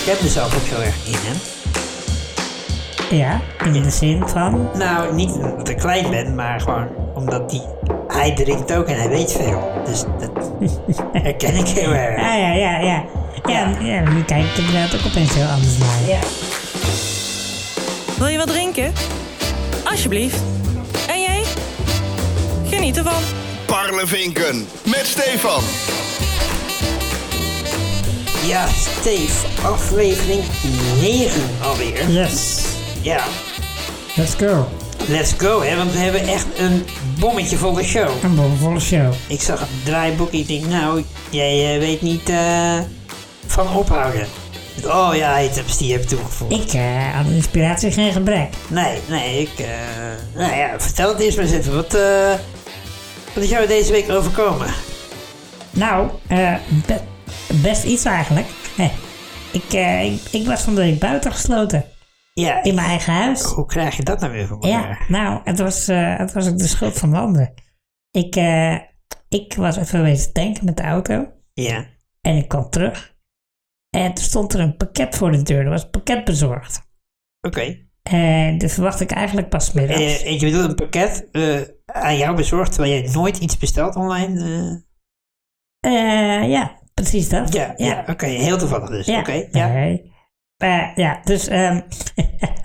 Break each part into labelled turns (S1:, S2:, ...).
S1: Ik heb mezelf ook zo erg in hem.
S2: Ja, in de zin van.
S1: Nou, niet omdat ik klein ben, maar gewoon omdat die, hij drinkt ook en hij weet veel. Dus dat herken ik heel erg.
S2: Ah ja, ja, ja. Ja, ja nu kijk ik inderdaad ook opeens heel anders naar.
S1: Ja.
S3: Wil je wat drinken? Alsjeblieft. En jij? Geniet ervan.
S4: Parlevinken met Stefan.
S1: Ja, Steve, aflevering 9 alweer.
S2: Yes,
S1: Ja,
S2: let's go.
S1: let's go hè, want we hebben echt een bommetje volle show.
S2: Een bomvolle show.
S1: Ik zag het draaiboek en ik denk, nou, jij eh, weet niet eh, van ophouden. Oh ja, items die je hebt toegevoegd.
S2: Ik eh, had inspiratie geen gebrek.
S1: Nee, nee, ik... eh, nou ja, vertel het eerst maar eens even. Wat, eh, wat is jou deze week overkomen?
S2: Nou, eh, be- best iets eigenlijk. Heh. Ik, eh, ik, ik was van de week buitengesloten.
S1: Ja,
S2: In mijn eigen huis.
S1: hoe krijg je dat nou weer voor
S2: Ja,
S1: elkaar?
S2: nou, het was, eh, het was ook de schuld van de ander. Ik, eh, ik was even wezen tanken met de auto.
S1: Ja.
S2: En ik kwam terug. En toen stond er een pakket voor de deur. Er was pakket bezorgd.
S1: Oké.
S2: En dat verwacht ik eigenlijk pas middags.
S1: Eh, en je bedoelt een pakket eh, aan jou bezorgd terwijl jij nooit iets bestelt online? eh?
S2: Eh, ja, precies dat.
S1: ja, ja. oké. heel toevallig dus.
S2: Ja.
S1: Oké, ja.
S2: Nee. Eh, ja, dus ehm,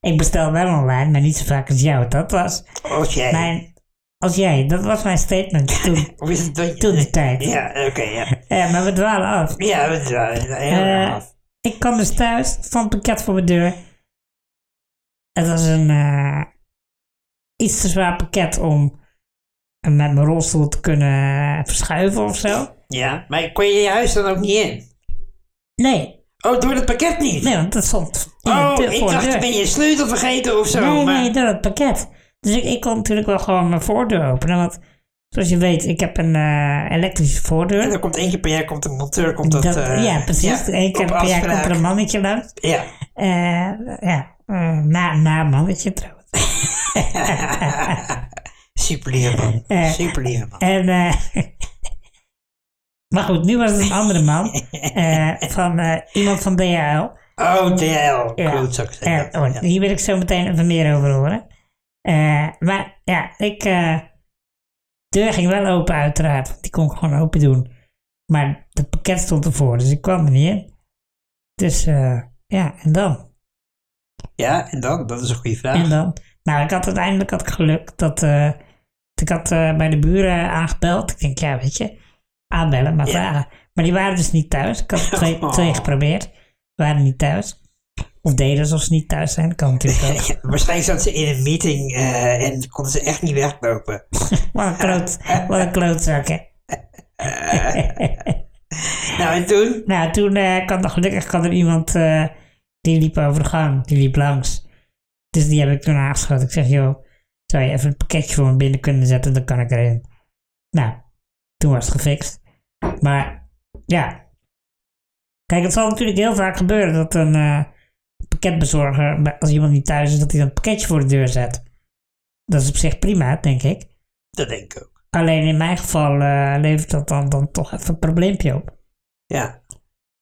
S2: ik bestel wel online, maar niet zo vaak als jou. Dat was
S1: Als jij...
S2: mijn... Als jij, dat was mijn statement toen,
S1: Of is het dat je-
S2: toen de tijd.
S1: Ja, oké, ja.
S2: Eh, maar we dwalen af.
S1: Ja, dat is wel heel erg
S2: Eh,
S1: af.
S2: ik kwam dus thuis, van een pakket voor mijn deur. Het was een eh, iets te zwaar pakket om eh, met mijn rolstoel te kunnen eh, verschuiven of zo.
S1: Ja, maar kon je je huis dan ook niet in?
S2: Nee,
S1: Oh, door het pakket niet?
S2: nee, want dat stond in de
S1: Oh,
S2: deur,
S1: ik
S2: voor de
S1: dacht,
S2: deur.
S1: ben je sleutel vergeten of zo?
S2: nee,
S1: maar,
S2: nee, door het pakket. Dus ik, ik kon natuurlijk wel gewoon mijn voordeur openen, want zoals je weet, ik heb een eh, elektrische
S1: En
S2: voordeur.
S1: dan komt één keer per jaar komt een monteur, komt dat... eh,
S2: ja,
S1: ja,
S2: precies. Eén keer
S1: op
S2: per jaar komt er
S1: afspraak.
S2: een mannetje langs.
S1: Ja.
S2: Eh, ja, eh, na, na een mannetje trouwens.
S1: Super lieve man.
S2: Eh,
S1: Super lieve man.
S2: En, eh, maar goed, nu was het een andere man. eh, van eh, iemand van DHL.
S1: Oh, DL. Klootzak.
S2: Eh,
S1: zeg dat.
S2: oh,
S1: Ja.
S2: Hier wil ik zo meteen even meer over horen. Eh, maar ja, ik. eh, de deur ging wel open, uiteraard. Want die kon ik gewoon open doen. Maar het pakket stond ervoor, dus ik kwam er niet in. Dus eh, ja, en dan?
S1: Ja, en dan? Dat is een goede
S2: En
S1: vraag.
S2: dan? Nou, ik had uiteindelijk had ik geluk dat. eh, ik had eh, bij de buren aangebeld. Ik denk, ja, weet je, aanbellen, maar
S1: Ja.
S2: vragen. Maar die waren dus niet thuis. Ik had twee,
S1: Oh.
S2: twee geprobeerd. Waren niet thuis. Of deden alsof ze niet thuis zijn. Dat kan natuurlijk ook.
S1: Waarschijnlijk zat ze in een meeting eh, en konden ze echt niet weglopen.
S2: Wat een, kloot, wat een klootzak, hè.
S1: Nou, en toen?
S2: Nou, toen eh kwam er gelukkig kwam er iemand eh, die liep over de gang. Die liep langs. Dus die heb ik toen aangeschoten. Ik zeg, joh, zou je even een pakketje voor me binnen kunnen zetten? Dan kan ik erin. Nou, toen was het gefixt. Maar ja. Kijk, het zal natuurlijk heel vaak gebeuren dat een eh, pakketbezorger, bij- als iemand niet thuis is, dat hij dan een pakketje voor de deur zet. Dat is op zich prima, denk ik.
S1: Dat denk ik ook.
S2: Alleen in mijn geval eh, levert dat dan, dan toch even een probleempje op.
S1: Ja.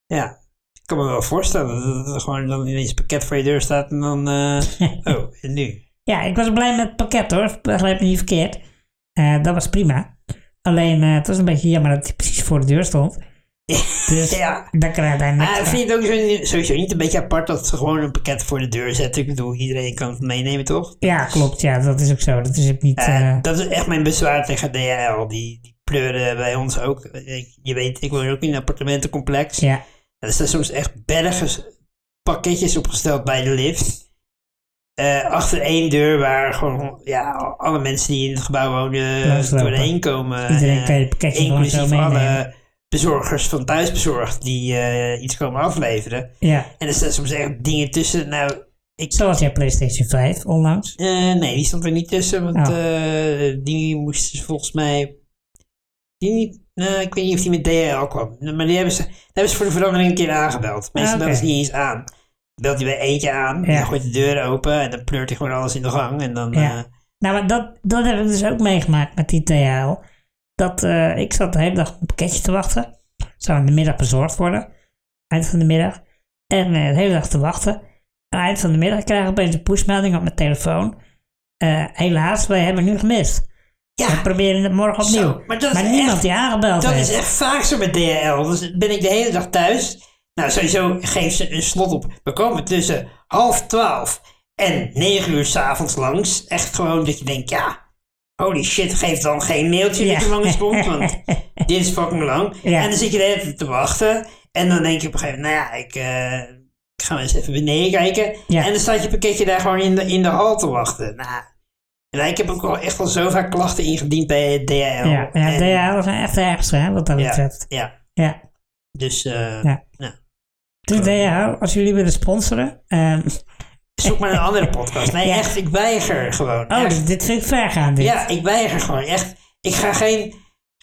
S1: Ja. Ik kan me wel voorstellen dat het gewoon dan ineens een pakket voor je deur staat en dan... eh, oh, en nu?
S2: Ja, ik was blij met het pakket hoor, begrijp me niet verkeerd. Eh, dat was prima. Alleen eh, het was een beetje jammer dat hij precies voor de deur stond. Dus
S1: Ja.
S2: dat kan uiteindelijk.
S1: Maar vind je het ook zo- sowieso niet een beetje apart dat ze gewoon een pakket voor de deur zetten? Ik bedoel, iedereen kan het meenemen, toch?
S2: Ja, klopt. Ja, dat is ook zo. Dat is ook niet.
S1: Eh,
S2: eh,
S1: dat is echt mijn bezwaar tegen DHL. Die, die pleuren bij ons ook. Ik- Je weet, ik woon ook in een appartementencomplex.
S2: ja.
S1: Er staan soms echt bergen s- pakketjes opgesteld bij de lift. Eh, achter één deur waar gewoon ja, alle mensen die in het gebouw wonen
S2: Langslopen.
S1: doorheen komen.
S2: Iedereen
S1: Eh,
S2: kan je pakketje gewoon zo
S1: Inclusief alle
S2: meenemen.
S1: bezorgers van thuisbezorgd die eh, iets komen afleveren.
S2: ja.
S1: En er staan soms echt dingen tussen. Nou, ik,
S2: Zoals jij PlayStation 5 onlangs.
S1: eh, nee, die stond er niet tussen, want
S2: Oh.
S1: eh, die moest dus volgens mij. Die niet, nou, ik weet niet of die met DHL kwam. Maar die hebben ze, die hebben ze voor de verandering een keer aangebeld. Meestal
S2: Ah, oké.
S1: bellen ze niet eens aan. Belt hij bij eentje aan,
S2: Ja.
S1: die gooit de deur open en dan pleurt hij gewoon alles in de gang. En dan,
S2: Ja.
S1: eh,
S2: Nou, maar dat, dat heb ik dus ook meegemaakt met die DHL. Dat eh, ik zat de hele dag op een pakketje te wachten. Zou in de middag bezorgd worden. eind van de middag. En eh, de hele dag te wachten. Aan het eind van de middag krijg ik opeens een pushmelding op mijn telefoon. Eh, helaas, wij hebben nu gemist.
S1: Ja.
S2: We proberen het morgen opnieuw.
S1: Zo, maar dat is
S2: niemand
S1: echt-
S2: die aangebeld
S1: Dat
S2: heeft.
S1: is echt vaak zo met DHL. Dus ben ik de hele dag thuis. Nou, sowieso geef ze een slot op. We komen tussen half twaalf en negen uur s'avonds langs. Echt gewoon dat je denkt, ja, holy shit, geef dan geen mailtje
S2: Ja.
S1: dat je langs komt. Want dit is fucking lang.
S2: Ja.
S1: En dan zit je de hele tijd te wachten. En dan denk je op een gegeven moment, nou ja, ik, eh, ik ga maar eens even beneden kijken.
S2: Ja.
S1: En dan staat je pakketje daar gewoon in de, in de hal te wachten. Nou, en ik heb ook wel echt wel zo vaak klachten ingediend bij DHL.
S2: Ja, ja
S1: En-
S2: DHL zijn echt de ergste, hè, wat dat
S1: Oh, ja,
S2: betreft.
S1: ja,
S2: Ja.
S1: dus eh,
S2: Ja.
S1: nou,
S2: Dus DHL, als jullie willen sponsoren. ehm,
S1: zoek maar een andere podcast. Nee,
S2: Ja.
S1: echt, ik weiger gewoon.
S2: oh,
S1: Echt.
S2: dit, dit vind ik ver gaan, dit.
S1: Ja, ik weiger gewoon. Echt, ik ga geen,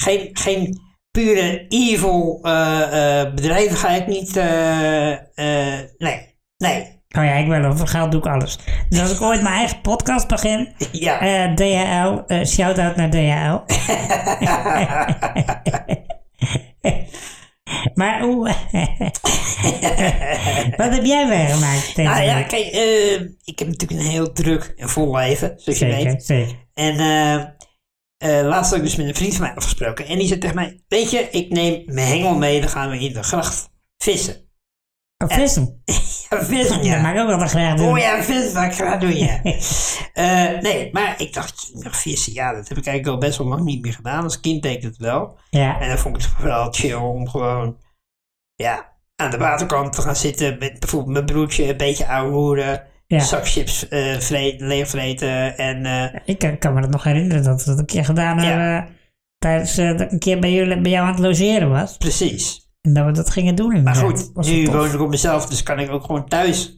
S1: geen, geen pure evil eh, eh, bedrijven ga ik niet, eh, eh, nee, nee.
S2: Oh ja, ik ben wel. Voor geld doe ik alles. Dus als ik ooit mijn eigen podcast begin,
S1: Ja,
S2: eh, DHL, eh shout-out naar DHL. maar hoe... Wat heb jij meegemaakt deze
S1: nou ja,
S2: week?
S1: kijk, eh, ik heb natuurlijk een heel druk en vol leven, zoals je weet.
S2: Zeker, zeker.
S1: En eh, eh, laatst had ik dus met een vriend van mij afgesproken. En die zei tegen mij, weet je, ik neem mijn hengel mee, dan gaan we in de gracht vissen.
S2: Oh, vissen.
S1: Ja, vissen,
S2: Dat
S1: ja.
S2: mag ik ook wel graag doen.
S1: Oh ja, vissen, dat ga ik doen, ja. Eh, nee, maar ik dacht, ja, vissen, ja, dat heb ik eigenlijk al best wel lang niet meer gedaan. Als kind deed ik het wel.
S2: ja.
S1: En dan vond ik het vooral chill om gewoon, ja, aan de waterkant te gaan zitten. Met bijvoorbeeld mijn broertje, een beetje ouwehoeren.
S2: Ja.
S1: Zak chips eh vreten, leeg vreten. En eh,
S2: Ik kan, kan me dat nog herinneren dat we dat een keer gedaan
S1: Ja.
S2: hebben. eh, Tijdens eh, dat ik een keer bij, jullie, bij jou aan het logeren was.
S1: precies.
S2: En dat we dat gingen doen.
S1: Maar
S2: inderdaad.
S1: goed,
S2: Was
S1: nu
S2: wel tof.
S1: woon ik op mezelf, dus kan ik ook gewoon thuis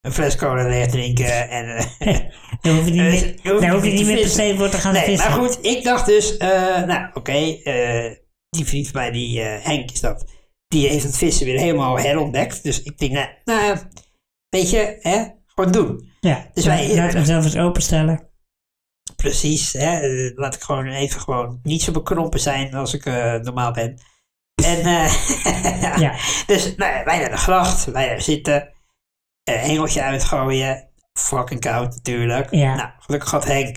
S1: een fles cola leeg drinken. En, eh,
S2: Dan hoef je niet
S1: Eh,
S2: meer,
S1: hoef je
S2: dan hoef je
S1: niet
S2: niet
S1: te
S2: meer per
S1: vissen.
S2: se voor te gaan
S1: nee,
S2: vissen.
S1: maar goed, ik dacht dus, eh, nou oké, eh, die vriend van mij, die eh, Henk is dat, die heeft het vissen weer helemaal herontdekt. Dus ik denk, nou, nou weet je, hè, gewoon doen.
S2: Ja,
S1: Dus
S2: dus
S1: wij-
S2: laat ik mezelf eens openstellen.
S1: Precies, hè, eh, laat ik gewoon even gewoon niet zo bekrompen zijn als ik eh, normaal ben. En eh,
S2: Ja,
S1: Dus nou, ja, wij naar de gracht, wij daar zitten. Een hengeltje uitgooien. Fucking koud natuurlijk.
S2: Ja.
S1: Nou, gelukkig had Henk.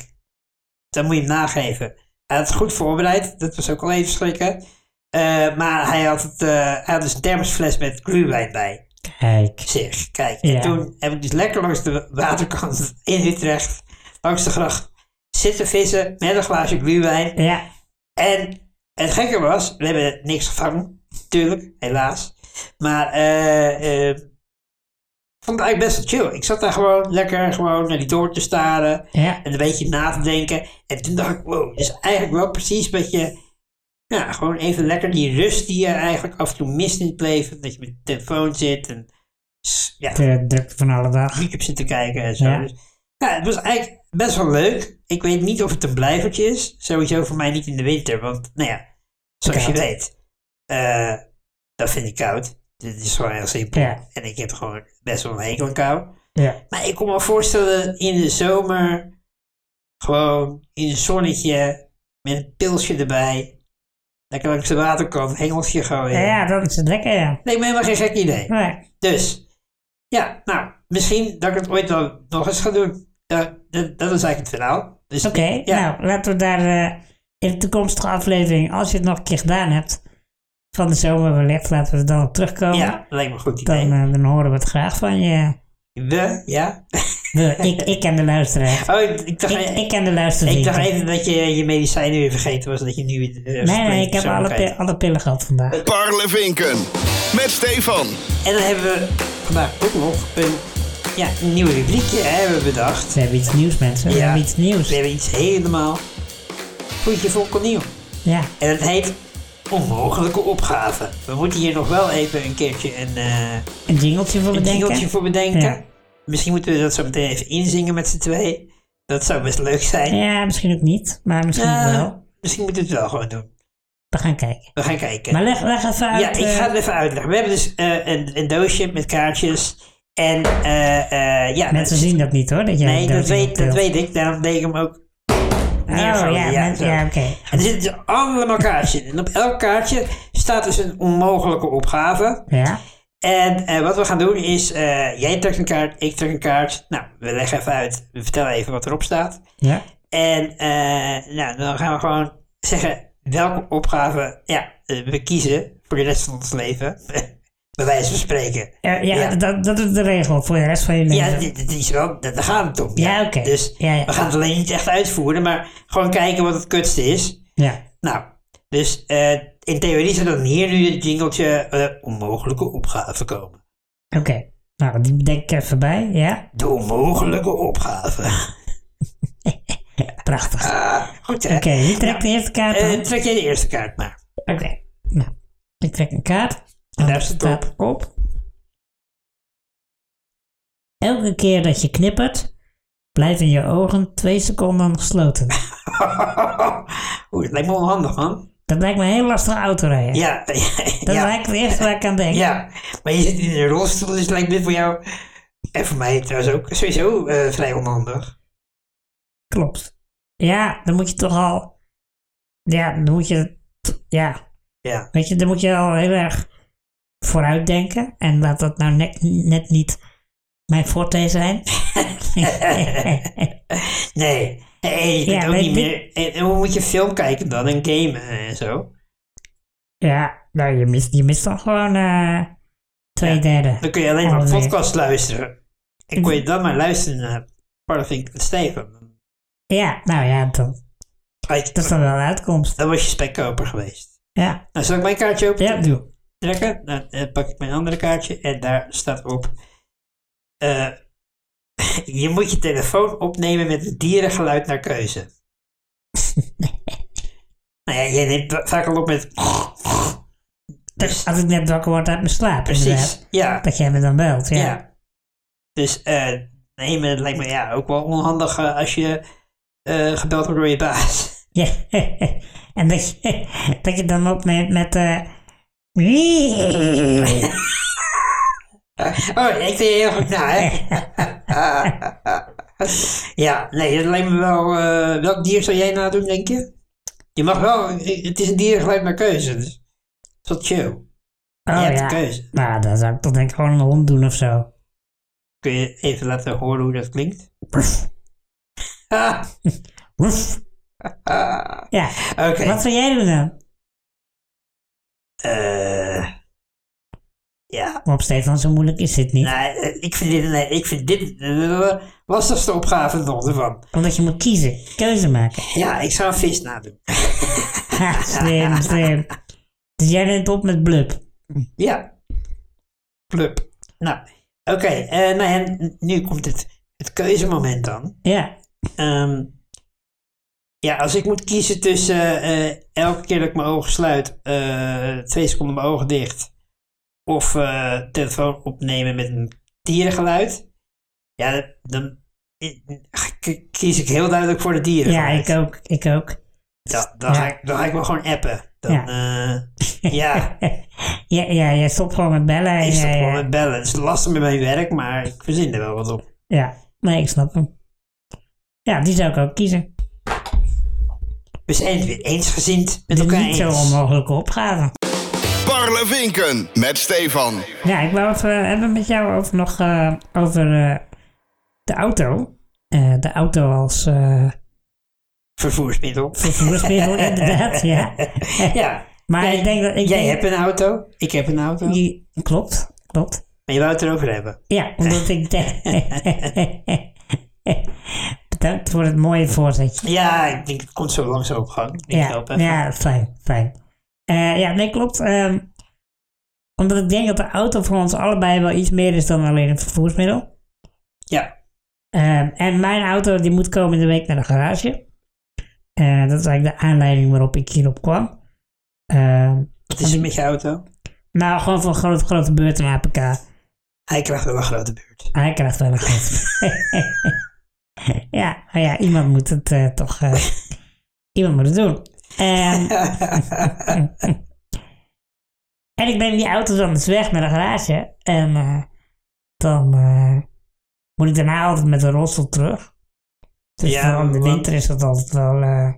S1: Dan moet je hem nageven. Hij had het goed voorbereid. Dat was ook al even schrikken. Eh, maar hij had, het, eh, hij had dus een thermosfles met glühwijn bij
S2: kijk.
S1: zich. Kijk,
S2: Ja.
S1: en toen heb ik dus lekker langs de waterkant in Utrecht, langs de gracht, zitten vissen met een glaasje glühwijn.
S2: Ja,
S1: En het gekke was, we hebben niks gevangen, natuurlijk, helaas. Maar eh, eh, ik vond het eigenlijk best wel chill. Ik zat daar gewoon lekker gewoon naar die door te staren
S2: ja,
S1: en een beetje na te denken. En toen dacht ik, wow, dit is eigenlijk wel precies wat je... Ja, gewoon even lekker die rust die je eigenlijk af en toe mist in het leven. Dat je met de telefoon zit en s- ja,
S2: de drukte van alle dag.
S1: YouTube zit te kijken en zo.
S2: Ja.
S1: Dus, ja, het was eigenlijk best wel leuk. Ik weet niet of het een blijvertje is. Sowieso voor mij niet in de winter, want nou ja, zoals
S2: Koud.
S1: je weet, eh, dat vind ik koud. Dit is gewoon heel simpel.
S2: Ja.
S1: En ik heb gewoon best wel een hekel aan kou.
S2: Ja,
S1: Maar ik kon me voorstellen in de zomer gewoon in een zonnetje met een pilsje erbij. Lekker langs de waterkant, hengeltje gooien.
S2: ja, dat is het lekker, ja.
S1: Leek me helemaal geen gek idee.
S2: Maar,
S1: Dus, ja, nou, misschien dat ik het ooit wel nog eens ga doen. Ja, dat, dat is eigenlijk het verhaal. Dus,
S2: Oké,
S1: ja,
S2: nou, laten we daar eh, in de toekomstige aflevering, als je het nog een keer gedaan hebt, van de zomer wellicht, laten we er dan op terugkomen.
S1: ja, lijkt me een goed
S2: Dan,
S1: idee.
S2: eh, dan horen we het graag van je.
S1: We, ja.
S2: We, ik, ik ken de luisteraar.
S1: Oh, ik, ik dacht,
S2: Ik,
S1: ik,
S2: ik ken de luisteraar.
S1: dacht even dat je je medicijnen weer vergeten was. Dat je nu weer. eh,
S2: Nee, nee,
S1: springt
S2: ik heb
S1: zo
S2: alle,
S1: bekijkt.
S2: pi- alle pillen gehad vandaag.
S4: Parlevinken. Met Stefan.
S1: En dan hebben we vandaag ook nog een ja, een nieuw rubriekje hè, hebben we bedacht.
S2: We hebben iets nieuws, mensen. We
S1: Ja.
S2: hebben iets
S1: We
S2: nieuws.
S1: hebben iets helemaal voetje vol koniel.
S2: Ja.
S1: En het heet Onmogelijke Opgave. We moeten hier nog wel even een keertje een. eh,
S2: Een jingletje voor
S1: een
S2: bedenken.
S1: jingeltje voor bedenken.
S2: Ja.
S1: Misschien moeten we dat zo meteen even inzingen met z'n twee. Dat zou best leuk zijn.
S2: Ja, misschien ook niet, maar misschien
S1: Eh,
S2: wel.
S1: misschien moeten we het wel gewoon doen.
S2: We gaan kijken.
S1: We gaan kijken.
S2: Maar leg, leg even uit.
S1: ja, ik
S2: eh,
S1: ga het even uitleggen. We hebben dus eh, een, een doosje met kaartjes. En eh, eh, ja,
S2: mensen zien dat niet hoor. Dat jij
S1: nee,
S2: een
S1: dat
S2: doosje
S1: weet, dat
S2: optilt.
S1: weet ik. Daarom deed ik hem ook neer.
S2: Oh ja, men-
S1: zo.
S2: ja oké.
S1: En er zitten dus allemaal kaartjes in. En op elk kaartje staat dus een onmogelijke opgave.
S2: Ja,
S1: En eh, wat we gaan doen is, eh, jij trekt een kaart, ik trek een kaart. Nou, we leggen even uit, we vertellen even wat erop staat.
S2: Ja.
S1: En eh, nou, dan gaan we gewoon zeggen welke opgave ja, eh, we kiezen voor de rest van ons leven. Bij wijze van spreken.
S2: Ja, ja,
S1: Ja.
S2: Dat, dat is de regel voor de rest van je
S1: Ja,
S2: leven.
S1: dit, dit is wel, daar daar gaat het om.
S2: Ja, oké.
S1: Dus
S2: Ja, ja.
S1: we gaan het alleen niet echt uitvoeren, maar gewoon kijken wat het kutste is.
S2: Ja.
S1: Nou, dus eh, in theorie zou dan hier nu het jingletje eh, onmogelijke opgave komen.
S2: Oké. Nou, die bedenk ik even bij. Ja.
S1: De onmogelijke opgave.
S2: Prachtig.
S1: Ah, goed hè.
S2: Oké, je trekt de eerste kaart
S1: Eh,
S2: dan.
S1: trek jij de eerste kaart maar.
S2: Oké. Nou, ik trek een kaart. En
S1: daar staat
S2: op. Elke keer dat je knippert, blijven je ogen twee seconden gesloten.
S1: Oeh, dat lijkt me onhandig man.
S2: Dat lijkt me heel lastig autorijden.
S1: Ja,
S2: dat
S1: ja,
S2: lijkt het eerste waar ik aan denk.
S1: ja. Maar je zit in een rolstoel, dus lijkt dit voor jou... En voor mij trouwens ook sowieso eh, vrij onhandig.
S2: Klopt. Ja, dan moet je toch al. Ja, dan moet je. Ja,
S1: Ja,
S2: weet je, dan moet je al heel erg vooruit denken. En laat dat nou net, net niet mijn forte zijn.
S1: nee. En je kunt
S2: Ja,
S1: ook
S2: maar
S1: niet
S2: dit-
S1: meer... En, en hoe moet je film kijken dan en gamen en zo?
S2: ja, nou, je mist, je mist dan gewoon eh, twee derde.
S1: Dan kun je alleen maar
S2: Alweer.
S1: podcast luisteren. En kon je dan maar luisteren naar Parlevink en Steven.
S2: Ja, nou ja, dat, dat is dan wel een uitkomst.
S1: Dan was je spekkoper geweest.
S2: Ja,
S1: Nou, zal ik mijn kaartje open
S2: ja, doe.
S1: trekken? Dan eh, pak ik mijn andere kaartje en daar staat op... eh, je moet je telefoon opnemen met het dierengeluid naar keuze. nou ja, je neemt va- vaak al op met... Dus,
S2: Als ik net wakker word uit mijn slaap, inderdaad,
S1: precies, ja.
S2: Dat jij me dan belt, ja.
S1: Ja. Dus eh nee, maar het lijkt me ja, ook wel onhandig eh, als je eh, gebeld wordt door je baas.
S2: Ja, en dat je, dat je dan opneemt met... eh,
S1: oh, ik deed heel goed na, hè? ja, nee, dat lijkt me wel... eh, welk dier zou jij nadoen, denk je? Je mag wel... Het is een diergeluid naar keuze, dus... Het is wel chill. je
S2: Oh
S1: hebt de
S2: ja.
S1: keuze.
S2: Nou, dan zou ik toch denk ik gewoon een hond doen of zo.
S1: Kun je even laten horen hoe dat klinkt?
S2: Woef,
S1: Ah,
S2: woef. Ja,
S1: Oké.
S2: wat zou jij doen dan?
S1: Eh, ja,
S2: Op Stefan, zo moeilijk is dit niet.
S1: Nee, eh, ik vind dit, nee, ik vind dit eh, de lastigste opgave nog ervan.
S2: Omdat je moet kiezen, keuze maken.
S1: Ja, ik zou een vis nadoen.
S2: Ha, slim, slim. Dus jij neemt op met blub.
S1: Ja. Club. Nou, oké. eh, nou, en nu komt het, het keuzemoment dan.
S2: Ja,
S1: Ehm, ja, als ik moet kiezen tussen eh, elke keer dat ik mijn ogen sluit, eh, twee seconden mijn ogen dicht, of eh, telefoon opnemen met een dierengeluid, ja, dan ik- kies ik heel duidelijk voor de dieren.
S2: ja ik ook, ik ook.
S1: Ja, dan, Ga ik, dan ga ik wel gewoon appen. Dan,
S2: Ja.
S1: ja. ja,
S2: Ja, ja, jij stopt gewoon met bellen. en
S1: ik stop
S2: jij,
S1: gewoon
S2: eh,
S1: met bellen. Het is lastig met mijn werk, maar ik verzin er wel wat op.
S2: Ja, nee, ik snap hem. Ja, die zou ik ook kiezen.
S1: We zijn het weer eensgezind met
S2: Dit is
S1: elkaar
S2: Dus niet zo
S1: eens.
S2: onmogelijke opgave.
S4: Parlevinken met Stefan.
S2: Ja, ik wou het eh, hebben met jou over nog eh, over eh, de auto. Eh, de auto als eh
S1: Vervoersmiddel.
S2: vervoersmiddel, inderdaad. Ja.
S1: ja.
S2: Maar
S1: Jij-
S2: ik denk dat ik.
S1: Jij
S2: denk-
S1: hebt een auto, ik heb een auto.
S2: Je- Klopt, klopt.
S1: Maar je wou het erover hebben.
S2: Ja, omdat ik denk. Bedankt voor het mooie voorzetje.
S1: Ja, ik denk het komt zo langs op gang. Ik
S2: ja,
S1: help even.
S2: Ja, fijn, fijn. Eh, ja, nee, klopt. ehm, omdat ik denk dat de auto voor ons allebei wel iets meer is dan alleen een vervoersmiddel.
S1: Ja.
S2: Ehm, en mijn auto die moet komende week naar de garage. Eh, dat is eigenlijk de aanleiding waarop ik hierop kwam. Ehm,
S1: Wat is er met je auto?
S2: nou, gewoon voor een grote, grote beurt naar APK.
S1: Hij krijgt wel een grote buurt.
S2: Hij krijgt wel een gat. ja, maar ja, iemand moet het eh, toch. eh, iemand moet het doen. Ehm, en ik neem die auto dan dus weg naar de garage. En eh, dan eh, moet ik daarna altijd met de rolstoel terug. Dus
S1: Ja,
S2: vooral in de
S1: want- Oh.
S2: winter is dat altijd wel. eh,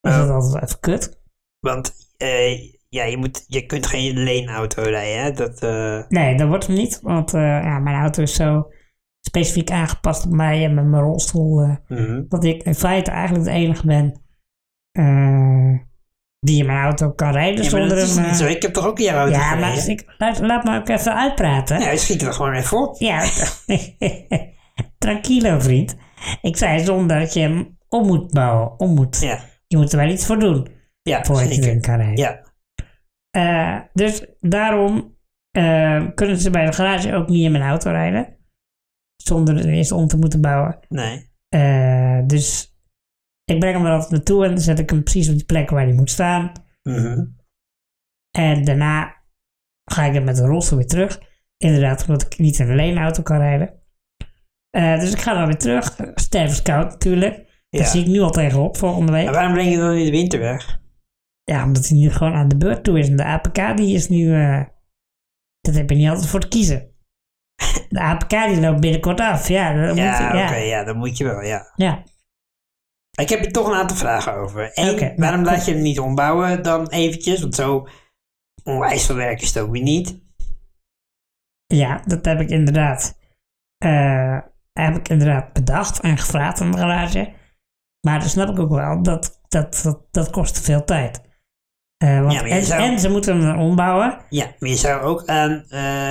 S2: is
S1: Ja.
S2: dat altijd even kut.
S1: Want eh, Ja, je, moet, je kunt geen leenauto rijden, hè? Dat, eh,
S2: Nee, dat wordt hem niet, want eh, ja, mijn auto is zo specifiek aangepast op mij en met mijn rolstoel. eh,
S1: mhm.
S2: dat ik in feite eigenlijk de enige ben eh, die in mijn auto kan rijden
S1: Ja, maar
S2: zonder
S1: dat is
S2: hem.
S1: niet
S2: eh,
S1: zo. Ik heb toch ook in jouw auto
S2: ja, maar
S1: gereden?
S2: ik, laat, laat me ook even uitpraten.
S1: Ja, schiet er gewoon even op.
S2: Ja, tranquilo vriend. Ik zei zonder dat je hem om moet bouwen, om moet.
S1: Ja,
S2: Je moet er wel iets voor doen
S1: ja
S2: voordat je
S1: zeker.
S2: erin kan rijden.
S1: Ja,
S2: Eh, dus daarom eh, kunnen ze bij de garage ook niet in mijn auto rijden. Zonder het eerst om te moeten bouwen.
S1: nee.
S2: Eh, dus ik breng hem er altijd naartoe en dan zet ik hem precies op die plek waar hij moet staan.
S1: Mhm.
S2: En daarna ga ik er met een rolstoel weer terug. Inderdaad, omdat ik niet in een leenauto kan rijden. Eh, dus ik ga dan weer terug. Stervenskoud natuurlijk. Daar
S1: Ja.
S2: zie ik nu al tegenop volgende week.
S1: Maar waarom breng je dan in de winter weg?
S2: Ja, omdat hij nu gewoon aan de beurt toe is. En de APK die is nu... eh, dat heb je niet altijd voor te kiezen. De APK die loopt binnenkort af. Ja, dat
S1: ja,
S2: moet,
S1: oké,
S2: ja,
S1: ja, dat moet je wel, ja.
S2: ja.
S1: Ik heb er toch een aantal vragen over. Eén,
S2: Oké.
S1: waarom laat je hem niet ombouwen dan eventjes? Want zo onwijs veel werk is het ook weer niet.
S2: Ja, dat heb ik inderdaad. eh, heb ik inderdaad bedacht en gevraagd aan de garage. Maar dat snap ik ook wel, dat, dat, dat, dat kost te veel tijd. Eh, want
S1: Ja, maar je
S2: en,
S1: zou-
S2: en ze moeten hem dan ombouwen.
S1: Ja, maar je zou ook aan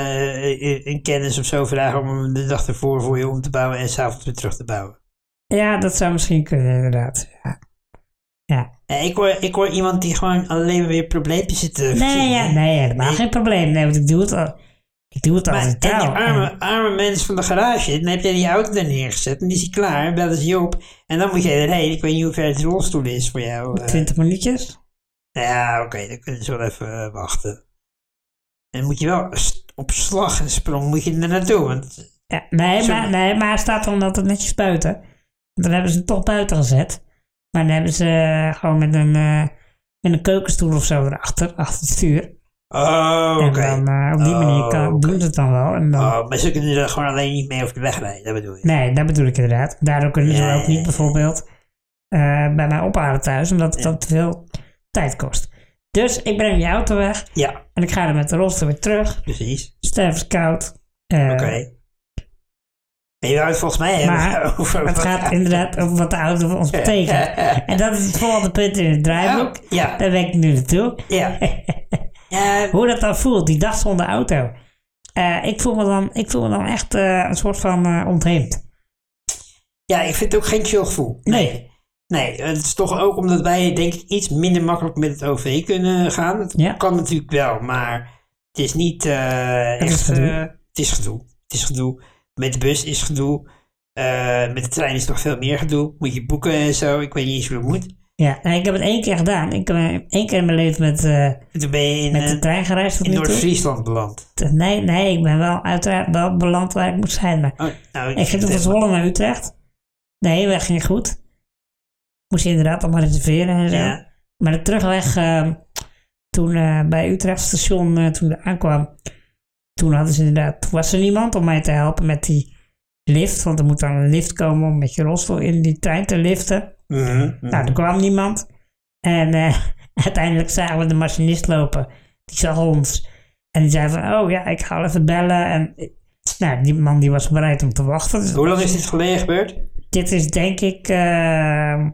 S1: eh, een kennis of zo vragen om hem de dag ervoor voor je om te bouwen en s'avonds weer terug te bouwen.
S2: Ja, dat zou misschien kunnen, inderdaad. Ja. Ja.
S1: Eh, ik, hoor, ik hoor iemand die gewoon alleen maar weer probleempjes zit te
S2: Nee,
S1: verzinnen.
S2: ja, nee, helemaal geen probleem. Nee, want ik doe het al. Ik doe het al
S1: Maar,
S2: in
S1: en die
S2: trouw.
S1: arme, arme mensen van de garage, dan heb jij die auto er neergezet en die is hij klaar, bellen ze je op. En dan moet jij erheen, ik weet niet hoe ver het rolstoel is voor jou.
S2: En
S1: eh. nou
S2: 20 minuutjes.
S1: ja, oké, dan kunnen ze wel even eh, wachten. En dan moet je wel s- op slag en sprong moet je er naartoe, want
S2: Ja, nee,
S1: Sorry.
S2: maar, nee, maar het staat dan altijd netjes buiten. Want Dan hebben ze hem toch buiten gezet. Maar dan hebben ze eh, gewoon met een, eh, met een keukenstoel of zo erachter, achter het stuur.
S1: oh, oké.
S2: En dan eh, op die
S1: Oh,
S2: manier kan,
S1: oké.
S2: doen ze het dan wel. En dan,
S1: Oh, maar ze kunnen er gewoon alleen niet mee over de weg rijden, dat bedoel je?
S2: Nee, dat bedoel ik inderdaad. Daardoor kunnen ze
S1: Ja,
S2: ook
S1: ja,
S2: niet
S1: ja.
S2: bijvoorbeeld eh, bij mij ophalen thuis, omdat het
S1: Ja.
S2: dan te veel tijd kost. Dus ik breng je auto weg
S1: Ja,
S2: en ik ga er met de rolstoel weer terug.
S1: precies.
S2: Stervenskoud. koud. Eh,
S1: Oké. Maar je wou het volgens mij hebben
S2: Maar
S1: over
S2: Het
S1: wat-
S2: gaat inderdaad over wat de auto voor ons betekent. En dat is het volgende punt in het
S1: Ja,
S2: draaiboek.
S1: Oh, ja,
S2: Daar ben ik nu naartoe.
S1: ja. Ja,
S2: Hoe dat dan voelt, die dag zonder auto. Eh, ik, voel me dan, ik voel me dan echt eh, een soort van eh, ontheemd.
S1: Ja, ik vind het ook geen chill gevoel.
S2: Nee.
S1: Nee, het is toch ook omdat wij denk ik iets minder makkelijk met het OV kunnen gaan. Het
S2: Ja.
S1: kan natuurlijk wel, maar het is niet eh,
S2: is
S1: echt...
S2: gedoe.
S1: eh, het is gedoe. Het is gedoe. Met de bus is gedoe. Eh, met de trein is nog veel meer gedoe. Moet je boeken en zo. Ik weet niet eens hoe het moet.
S2: Ja, en ik heb het één keer gedaan. Ik heb eh, één keer in mijn leven met, eh,
S1: En toen ben je in,
S2: met de
S1: eh,
S2: trein gereisd. tot
S1: in
S2: nu toe.
S1: Noord-Friesland beland.
S2: Nee, nee, ik ben wel uiteraard wel beland waar ik moest zijn. Maar
S1: Oh, nou,
S2: ik ging toen van Zwolle naar Utrecht. De heenweg ging goed. Moest je inderdaad allemaal reserveren en zo.
S1: Ja.
S2: Maar de terugweg, ehm, toen eh, bij Utrecht station, eh, toen ik aankwam, toen hadden ze inderdaad, toen was er niemand om mij te helpen met die lift. Want er moet dan een lift komen om met je rolstoel in die trein te liften.
S1: Mhm, mhm.
S2: Nou, er kwam niemand. En eh, uiteindelijk zagen we de machinist lopen. Die zag ons. En die zei van, oh ja, ik ga wel even bellen. En eh, nou, die man die was bereid om te wachten. Dus
S1: Hoe lang is dit geleden gebeurd?
S2: dit is denk ik eh,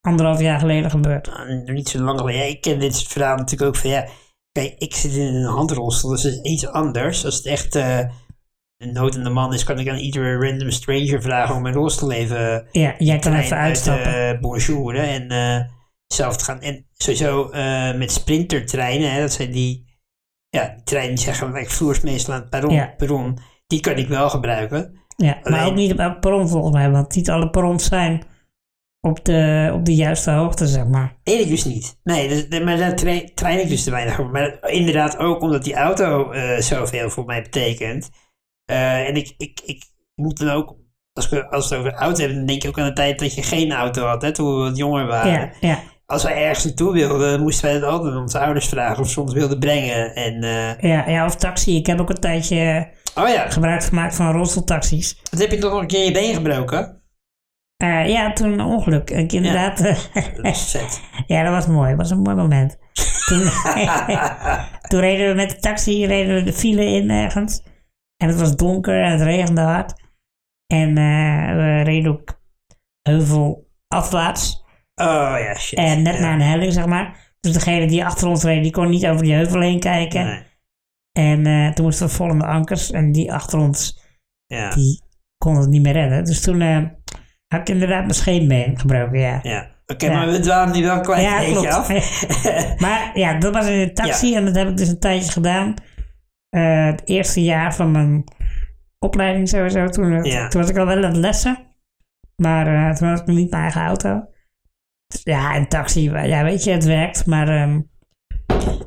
S2: anderhalf jaar geleden gebeurd.
S1: Nou, niet zo lang geleden. Ja, ik ken dit soort verhalen natuurlijk ook van ja. Kijk, ik zit in een handrolstoel, dus dat is iets anders. Als het echt eh, een nood de man is, kan ik aan iedere random stranger vragen om mijn rolstoel even,
S2: Ja, jij kan
S1: trein
S2: even
S1: uit eh, te
S2: uitstappen.
S1: bonjouren en eh, zelf te gaan. En sowieso eh, met sprintertreinen, hè, dat zijn die, ja, die treinen die zeggen gelijk vloers meestal aan het perron,
S2: Ja.
S1: perron. Die kan ik wel gebruiken.
S2: ja, maar
S1: alleen-
S2: ook niet op elk perron volgens mij. Want niet alle perrons zijn op de, op de juiste hoogte, zeg maar.
S1: Weet ik dus niet. Nee, dus- nee, maar daar tra- train ik dus te weinig over. Maar dat- inderdaad ook omdat die auto eh zoveel voor mij betekent. Eh, en ik, ik, ik moet dan ook, als we, als we het over auto hebben, dan denk ik ook aan de tijd dat je geen auto had, hè, toen we wat jonger waren.
S2: Ja, ja.
S1: Als wij ergens naartoe wilden, moesten wij het altijd aan onze ouders vragen of ze ons wilden brengen. En, eh,
S2: Ja, ja, of taxi. Ik heb ook een tijdje
S1: oh ja,
S2: gebruik gemaakt van rolstoeltaxis.
S1: dat heb je toch nog een keer je been gebroken?
S2: Eh, ja, toen een ongeluk. Ik inderdaad. eh,
S1: Dat is vet.
S2: ja, dat was mooi. Dat was een mooi moment. Toen, toen reden we met de taxi, reden we de file in ergens. En het was donker en het regende hard. En eh, we reden ook heuvel afwaarts.
S1: Oh ja, shit.
S2: En net
S1: Ja.
S2: naar een helling, zeg maar. Dus degene die achter ons reed, die kon niet over die heuvel heen kijken.
S1: Nee,
S2: En eh, toen moesten we vol in de ankers. En die achter ons,
S1: Ja,
S2: die kon het niet meer redden. Dus toen eh, had ik inderdaad mijn scheenbeen gebroken, ja.
S1: ja. Oké,
S2: Ja.
S1: maar we dwalen nu wel een klein
S2: Ja,
S1: beetje
S2: klopt.
S1: af.
S2: maar ja, dat was in de taxi en dat heb ik dus een tijdje gedaan. Eh, het eerste jaar van mijn opleiding sowieso. Toen, eh,
S1: Ja.
S2: toen was ik al wel aan het lessen. Maar eh, toen had ik nog niet mijn eigen auto. Dus ja, een taxi, ja weet je, het werkt. Maar ehm,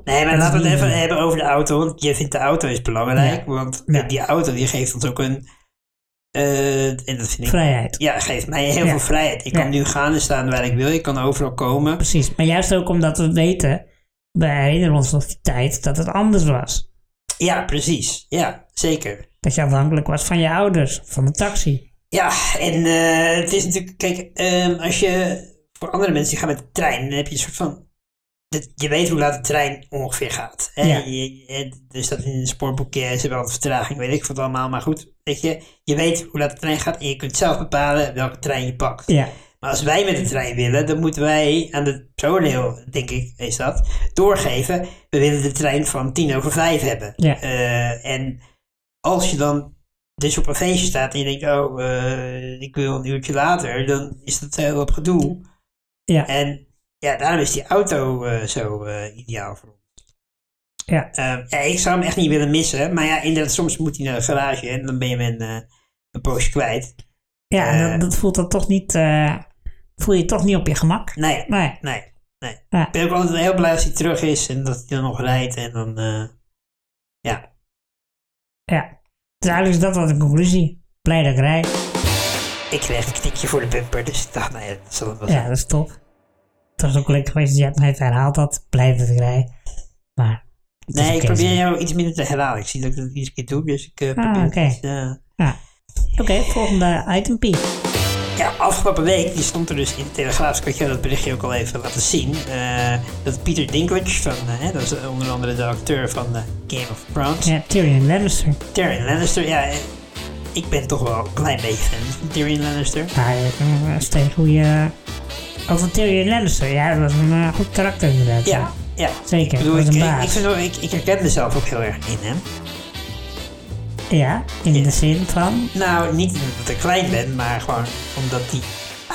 S1: Nee, maar
S2: Dat
S1: laten
S2: is
S1: we het
S2: niet
S1: even
S2: zo.
S1: hebben over de auto. Want je vindt de auto is belangrijk.
S2: eh, Ja.
S1: Want eh,
S2: Ja.
S1: die auto die geeft ons ook een... eh, en dat vind ik...
S2: vrijheid.
S1: Ja, geeft mij heel
S2: Ja.
S1: veel vrijheid. Ik
S2: Ja.
S1: kan nu gaan en staan waar ik wil. Ik kan overal komen.
S2: Precies, maar juist ook omdat we weten, we herinneren ons nog die tijd dat het anders was.
S1: Ja, precies. Ja, zeker.
S2: Dat je afhankelijk was van je ouders, van de taxi.
S1: Ja, en eh, het is natuurlijk... Kijk, ehm, als je... Voor andere mensen die gaan met de trein, dan heb je een soort van... dat- Je weet hoe laat de trein ongeveer gaat. Hè?
S2: Ja.
S1: Je- je- er staat in een spoorboekje, ze hebben altijd vertraging, weet ik wat allemaal. Maar goed, weet je, je weet hoe laat de trein gaat en je kunt zelf bepalen welke trein je pakt.
S2: Ja,
S1: Maar als wij met de trein willen, dan moeten wij aan het personeel, denk ik, is dat, doorgeven. We willen de trein van tien over vijf hebben.
S2: Ja.
S1: Eh, en als je dan dus op een feestje staat en je denkt, oh, eh, ik wil een uurtje later, dan is dat heel wat gedoe.
S2: Ja.
S1: En ja, daarom is die auto eh, zo eh, ideaal voor ons.
S2: Ja.
S1: Eh, ja, ik zou hem echt niet willen missen. Maar ja, inderdaad, soms moet hij naar de garage en dan ben je hem een, eh, een poosje kwijt.
S2: ja
S1: Eh.
S2: dat, dat voelt dan toch niet, eh, voel je toch niet op je gemak.
S1: Nee,
S2: Nee,
S1: nee.
S2: ja.
S1: Ik ben ook altijd heel blij als hij terug is en dat hij dan nog rijdt en dan... eh, ja.
S2: Ja. Dus eigenlijk is dat wel de conclusie. Blij dat ik rijd.
S1: Ik kreeg een knikje voor de bumper, dus ik dacht, nou ja, dat zal het wel zijn.
S2: Ja, dat is top. Het was ook leuk geweest dat je het nog even herhaald had. Blij dat ik rijd. Maar, het is
S1: Nee, ik
S2: oké
S1: probeer
S2: zo.
S1: jou iets minder te herhalen. Ik zie dat ik dat iedere keer doe, dus ik eh, probeer
S2: oké.
S1: het, eh,
S2: Ja. Oké, volgende item P.
S1: Ja, afgelopen week die stond er dus in de Telegraaf, ik had jou dat berichtje ook al even laten zien, eh, dat Peter Dinklage, van, eh, hè, dat is onder andere de acteur van eh, Game of Thrones,
S2: Ja, Tyrion Lannister.
S1: Tyrion Lannister, ja, eh, ik ben toch wel een klein beetje fan van Tyrion Lannister.
S2: Nou, dat was een goede... Over Tyrion Lannister, ja, dat was een eh, goed karakter inderdaad.
S1: Ja, ja.
S2: Zeker,
S1: Ik bedoel,
S2: dat
S1: ik,
S2: is een
S1: ik,
S2: baas.
S1: ik, vind wel- ik, ik herken mezelf ook heel erg in hem.
S2: Ja, in
S1: Ja.
S2: de zin van...
S1: Nou, niet omdat ik klein ben, maar gewoon omdat hij...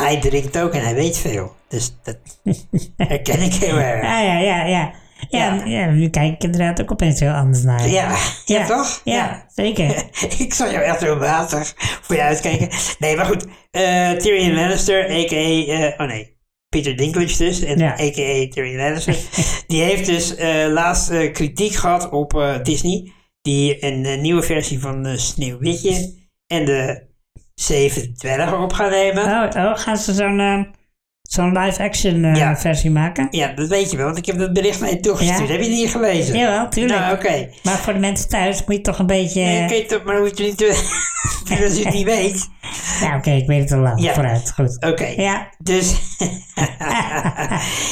S1: Hij drinkt ook en hij weet veel. Dus dat herken ik heel erg.
S2: Ja, ja, ja, ja. Ja,
S1: Ja.
S2: ja. nu kijk ik inderdaad ook opeens heel anders naar. je.
S1: Ja, ja, toch?
S2: Ja, zeker.
S1: ik zal jou echt heel water voor je uitkijken. Nee, maar goed. eh, Tyrion Lannister, a.k.a. eh, oh nee, Peter Dinklage dus. En
S2: Ja.
S1: a.k.a. Tyrion Lannister. die heeft dus eh, laatst eh, kritiek gehad op eh, Disney. Die een eh, nieuwe versie van eh, Sneeuwwitje en de Zeven Dwergen op gaan nemen.
S2: Oh, oh gaan ze zo'n eh, zo'n live-action eh,
S1: Ja.
S2: versie maken?
S1: Ja, dat weet je wel, want ik heb dat bericht naar je toegestuurd.
S2: Ja.
S1: Heb je het niet gelezen?
S2: Jawel, tuurlijk.
S1: Nou, oké.
S2: Maar voor de mensen thuis moet je toch een beetje...
S1: Nee,
S2: eh,
S1: oké, toch, maar moet je niet... Als je het niet weet.
S2: Nou, oké, ik weet het al lang.
S1: Ja.
S2: Vooruit, goed.
S1: Oké.
S2: Ja,
S1: Dus.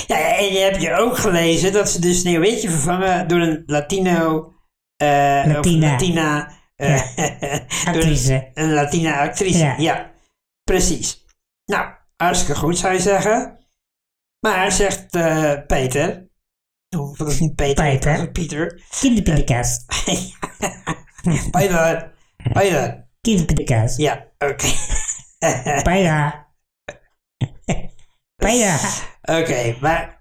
S1: ja, en je hebt je ook gelezen dat ze dus Sneeuwwitje vervangen door een Latino. eh,
S2: Latina.
S1: Of Latina. eh, door een,
S2: actrice.
S1: een Latina actrice. Ja.
S2: Ja.
S1: precies. Nou, hartstikke goed zou je zeggen. Maar zegt eh, Peter. Hoe was het niet Peter?
S2: Peter.
S1: Pieter.
S2: Kinderpindakaas.
S1: Peter. Peter.
S2: Kinderpindakaas.
S1: Ja, oké.
S2: Bijna. Bijna.
S1: Oké, maar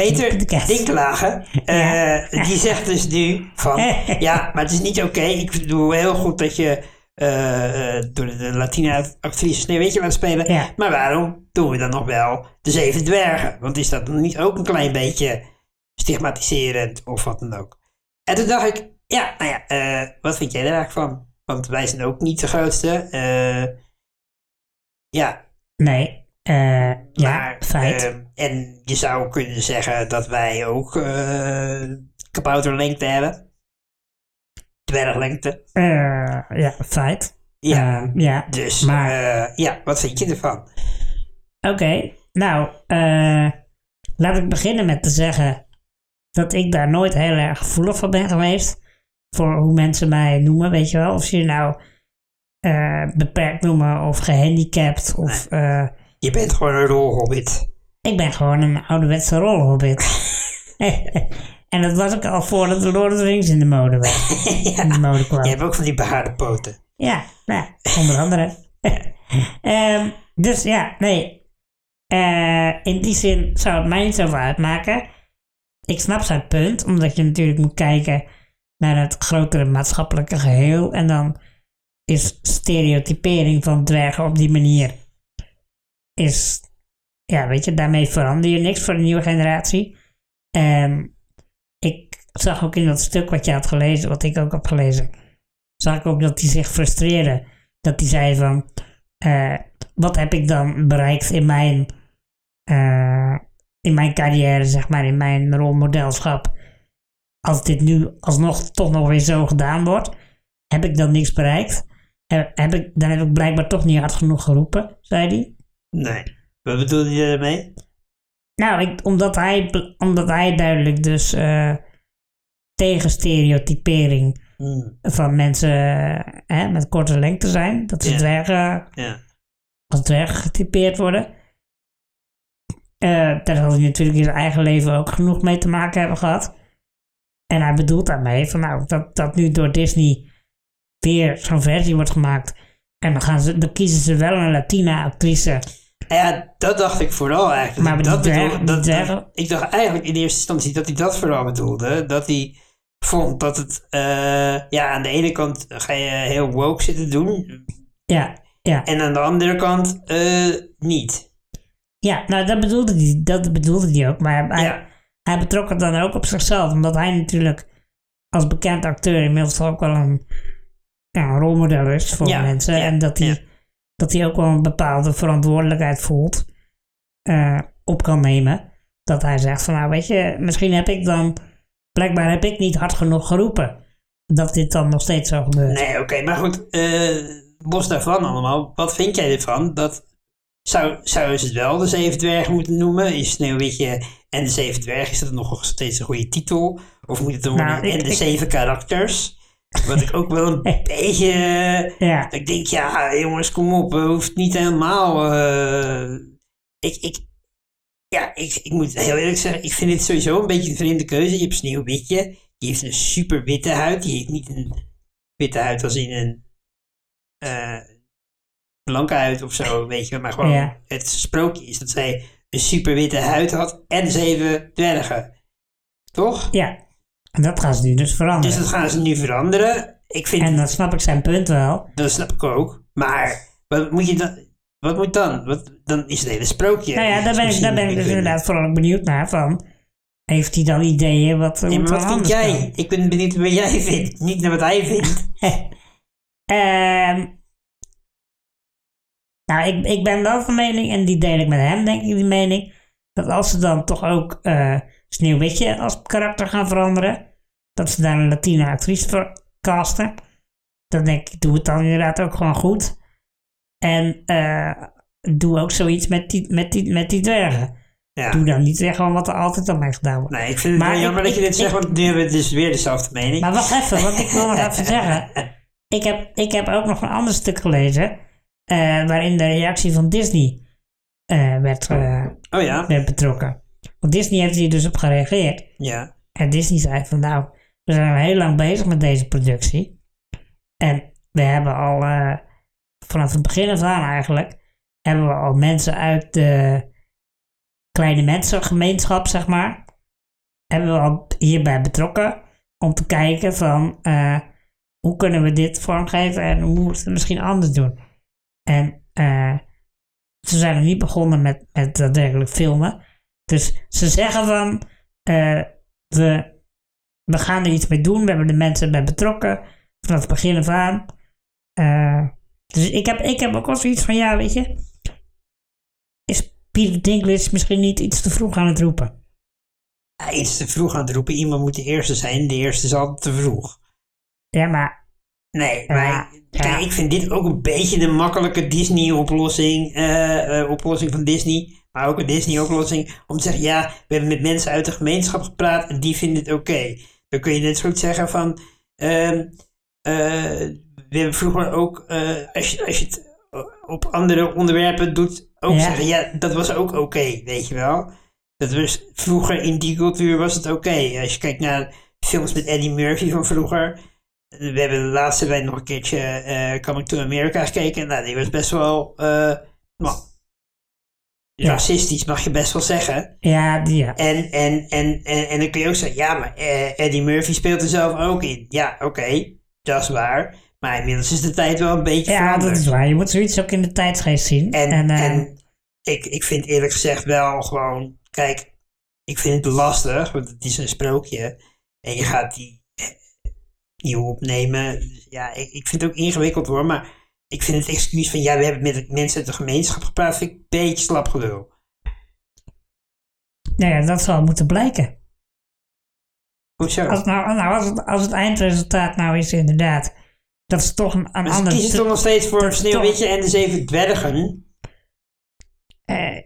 S1: Peter
S2: De kerst.
S1: Dinklagen,
S2: Ja.
S1: eh, die zegt dus nu van, ja, maar het is niet oké. Ik bedoel heel goed dat je eh, eh, door de Latina actrice Sneeuwwitje laat spelen.
S2: Ja.
S1: Maar waarom doen we dan nog wel de Zeven Dwergen? Want is dat dan niet ook een klein beetje stigmatiserend of wat dan ook? En toen dacht ik, ja, nou ja, eh, wat vind jij daar eigenlijk van? Want wij zijn ook niet de grootste. eh, ja,
S2: Nee. eh, ja,
S1: maar,
S2: feit.
S1: ehm, en je zou kunnen zeggen dat wij ook eh kabouterlengte hebben. Dwerglengte.
S2: Eh, ja, feit.
S1: Ja,
S2: Eh, ja.
S1: dus
S2: maar-
S1: eh, ja, wat vind je ervan?
S2: Oké, nou, eh, Laat ik beginnen met te zeggen dat ik daar nooit heel erg gevoelig van ben geweest. Voor hoe mensen mij noemen, weet je wel. Of ze je nou eh, beperkt noemen of gehandicapt. Of, eh,
S1: Je bent gewoon een rolhobbit.
S2: ik ben gewoon een ouderwetse rolhobbit. en dat was ik al voordat de Lord of the Rings in de mode was. In de mode kwam.
S1: Je hebt ook van die behaarde poten.
S2: Ja, nou, onder andere. Ehm, dus ja, nee. Eh, in die zin zou het mij niet zoveel uitmaken. Ik snap zijn punt, omdat je natuurlijk moet kijken naar het grotere maatschappelijke geheel. En dan is stereotypering van dwergen op die manier. Is, ja, weet je, daarmee verander je niks voor de nieuwe generatie. En ik zag ook in dat stuk wat je had gelezen, wat ik ook heb gelezen zag ik ook dat hij zich frustreerde. Dat hij zei van, eh, wat heb ik dan bereikt in mijn, eh, in mijn carrière, zeg maar, in mijn rolmodelschap. Als dit nu alsnog toch nog weer zo gedaan wordt, heb ik dan niks bereikt? Eh, heb ik, dan heb ik blijkbaar toch niet hard genoeg geroepen, zei hij.
S1: Nee. Wat bedoelde je daarmee?
S2: Nou, ik, omdat, hij, omdat hij duidelijk dus eh, tegen stereotypering
S1: Hmm,
S2: van mensen eh, hè, met korte lengte zijn. Dat ze
S1: Ja.
S2: dwergen,
S1: ja.
S2: als dwerg getypeerd worden. Eh, daar zal hij natuurlijk in zijn eigen leven ook genoeg mee te maken hebben gehad. En hij bedoelt daarmee van nou, dat, dat nu door Disney weer zo'n versie wordt gemaakt. En dan, gaan ze, dan kiezen ze wel een Latina actrice.
S1: Nou Ja, dat dacht ik vooral eigenlijk.
S2: Maar die
S1: dat
S2: dwerg-
S1: bedoel-
S2: die
S1: dat, dat-
S2: dwergen-
S1: ik dacht eigenlijk in eerste instantie dat hij dat vooral bedoelde. Dat hij vond dat het... eh, ja, aan de ene kant ga je heel woke zitten doen.
S2: Ja, ja.
S1: En aan de andere kant eh, niet.
S2: Ja, nou dat bedoelde hij, dat bedoelde hij ook. Maar hij,
S1: Ja.
S2: hij betrok het dan ook op zichzelf. Omdat hij natuurlijk als bekend acteur inmiddels toch ook wel een, ja, een rolmodel is voor
S1: Ja,
S2: mensen.
S1: ja,
S2: en dat hij,
S1: ja.
S2: dat hij ook wel een bepaalde verantwoordelijkheid voelt. eh, op kan nemen. Dat hij zegt van nou weet je, misschien heb ik dan... Blijkbaar heb ik niet hard genoeg geroepen. Dat dit dan nog steeds zo gebeurt.
S1: Nee, oké. maar goed, eh, los daarvan allemaal. Wat vind jij ervan? Dat zou, zou ze het wel de Zeven Dwergen moeten noemen? Is Sneeuwwitje en de Zeven Dwergen, is dat nog steeds een goede titel? Of moet het dan
S2: Nou,
S1: worden
S2: ik-
S1: en de
S2: ik-
S1: Zeven Karakters? Wat ik ook wel een beetje... eh,
S2: Ja.
S1: ik denk, ja, jongens, kom op. Het hoeft niet helemaal... eh, ik, ik, ja, ik, ik moet heel eerlijk zeggen, ik vind dit sowieso een beetje een vreemde keuze. Je hebt Sneeuwwitje, die heeft een super witte huid. Die heeft niet een witte huid als in een eh, blanke huid of zo, weet je. wel. Maar gewoon
S2: Ja.
S1: het sprookje is dat zij een super witte huid had en zeven dwergen. Toch?
S2: ja. En dat gaan ze nu dus veranderen.
S1: Dus dat gaan ze nu veranderen. Ik vind,
S2: en dan snap ik zijn punt wel.
S1: dat snap ik ook. Maar wat moet je dan... Wat moet dan? Wat, dan is het hele sprookje.
S2: Nou ja, daar ben ik, daar ben ik dus inderdaad vooral ook benieuwd naar. Van, heeft hij dan ideeën wat,
S1: Ja,
S2: hoe
S1: maar
S2: het
S1: wat
S2: wel
S1: vind
S2: anders
S1: jij?
S2: kan?
S1: Ik ben benieuwd wat jij vindt, niet naar wat hij vindt.
S2: Ehm, nou, ik, ik ben wel van mening, en die deel ik met hem, denk ik, die mening. Dat als ze dan toch ook eh Sneeuwwitje als karakter gaan veranderen, dat ze daar een Latina actrice voor casten. Dan denk ik, doe het dan inderdaad ook gewoon goed. En eh, doe ook zoiets met die, met die, met die dwergen.
S1: Ja.
S2: Doe dan niet weer gewoon wat er altijd al mee gedaan wordt.
S1: Nee, ik vind het
S2: Maar
S1: wel
S2: ik-
S1: jammer dat je
S2: ik-
S1: dit zegt,
S2: ik-
S1: want nu hebben we dus weer dezelfde mening.
S2: Maar wacht even, want ik wil nog even zeggen. Ik heb, ik heb ook nog een ander stuk gelezen. eh, waarin de reactie van Disney eh, werd, eh,
S1: oh ja,
S2: werd betrokken. Want Disney heeft hier dus op gereageerd.
S1: ja.
S2: En Disney zei van nou, we zijn al heel lang bezig met deze productie. En we hebben al, eh, vanaf het begin af aan eigenlijk, hebben we al mensen uit de kleine mensengemeenschap, zeg maar, hebben we al hierbij betrokken om te kijken van eh, hoe kunnen we dit vormgeven en hoe moeten we het misschien anders doen. En eh, ze zijn nog niet begonnen met, met daadwerkelijk filmen. Dus ze zeggen van, eh, we, we gaan er iets mee doen. We hebben de mensen bij betrokken. Vanaf het begin af aan. Eh, dus ik heb, ik heb ook al zoiets van, ja, weet je. Is Peter Dinklage misschien niet iets te vroeg aan het roepen?
S1: Ja, Iets te vroeg aan het roepen, iemand moet de eerste zijn, de eerste is altijd te vroeg.
S2: Ja, maar
S1: Nee,
S2: Ja,
S1: maar
S2: ja.
S1: kijk, ik vind dit ook een beetje de makkelijke Disney-oplossing, eh, eh, oplossing van Disney. maar ook een Disney-oplossing, om te zeggen, ja, we hebben met mensen uit de gemeenschap gepraat en die vinden het oké. Dan kun je net zo goed zeggen van, ehm, eh, we hebben vroeger ook, eh, als, je, als je het op andere onderwerpen doet, ook
S2: Ja.
S1: zeggen, ja, dat was ook oké, weet je wel. Dat was, vroeger in die cultuur was het oké. Als je kijkt naar films met Eddie Murphy van vroeger, we hebben de laatste wij nog een keertje eh Coming to America gekeken. Nou, die was best wel. eh, nou,
S2: Ja.
S1: Racistisch mag je best wel zeggen.
S2: Ja, die- ja.
S1: En, en, en, en, en dan kun je ook zeggen: ja, maar eh, Eddie Murphy speelt er zelf ook in. Ja, oké, dat is waar. Maar inmiddels is de tijd wel een beetje.
S2: ja, dat
S1: veranderd.
S2: is waar. Je moet zoiets ook in de tijdsgeest zien.
S1: En,
S2: en,
S1: en,
S2: eh,
S1: ik, ik vind eerlijk gezegd wel gewoon, kijk, ik vind het lastig, want het is een sprookje. En je gaat die nieuw opnemen. Dus Ja, ik, ik vind het ook ingewikkeld hoor, maar ik vind het excuus van, ja, we hebben met de mensen uit de gemeenschap gepraat, vind ik een beetje slap gelul.
S2: nou ja, dat zal moeten blijken.
S1: Hoezo?
S2: Als, nou, nou, als, het, als het eindresultaat nou is inderdaad, dat is toch een, een
S1: Maar ze
S2: ander...
S1: kiezen toch nog steeds voor
S2: dat is
S1: Sneeuwwitje en de Zeven Dwergen.
S2: Eh,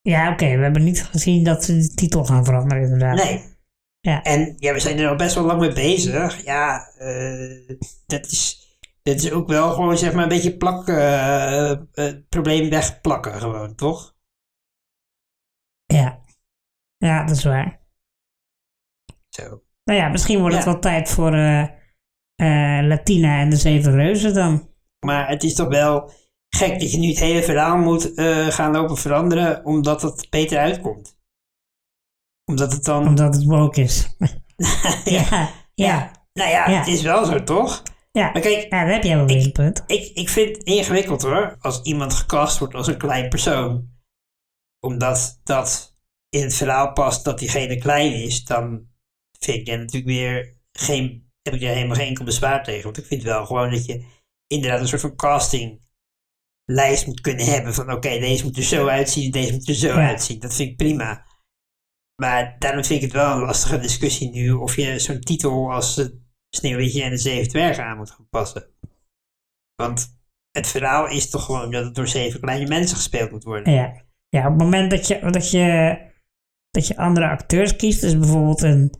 S2: ja, oké, we hebben niet gezien dat ze de titel gaan veranderen inderdaad.
S1: Nee.
S2: Ja.
S1: En ja, we zijn er al best wel lang mee bezig. Ja, eh, dat, is, dat is ook wel gewoon zeg maar een beetje plak, eh, eh, het probleem wegplakken gewoon, toch?
S2: Ja. ja, dat is waar.
S1: Zo.
S2: Nou ja, misschien wordt het
S1: Ja.
S2: wel tijd voor eh, eh, Latina en de Zeven Reuzen dan.
S1: Maar het is toch wel gek dat je nu het hele verhaal moet eh, gaan lopen veranderen omdat het beter uitkomt. Omdat het dan...
S2: Omdat het woke is. ja, ja,
S1: Nou ja,
S2: Ja.
S1: het is wel zo, toch?
S2: ja.
S1: Maar kijk,
S2: Ja, daar heb jij wel weer een punt.
S1: Ik, ik vind het ingewikkeld hoor, als iemand gecast wordt als een klein persoon. Omdat dat in het verhaal past dat diegene klein is, dan vind ik er natuurlijk weer geen, heb ik er helemaal geen enkel bezwaar tegen. Want ik vind wel gewoon dat je inderdaad een soort van castinglijst moet kunnen hebben van oké, deze moet er zo uitzien, deze moet er zo
S2: Ja.
S1: uitzien. Dat vind ik prima. Maar daarom vind ik het wel een lastige discussie nu of je zo'n titel als eh, Sneeuwwitje en de Zeven Dwergen aan moet gaan passen. Want het verhaal is toch gewoon dat het door zeven kleine mensen gespeeld moet worden.
S2: Ja. ja, op het moment dat je, dat, je, dat je andere acteurs kiest, dus bijvoorbeeld een,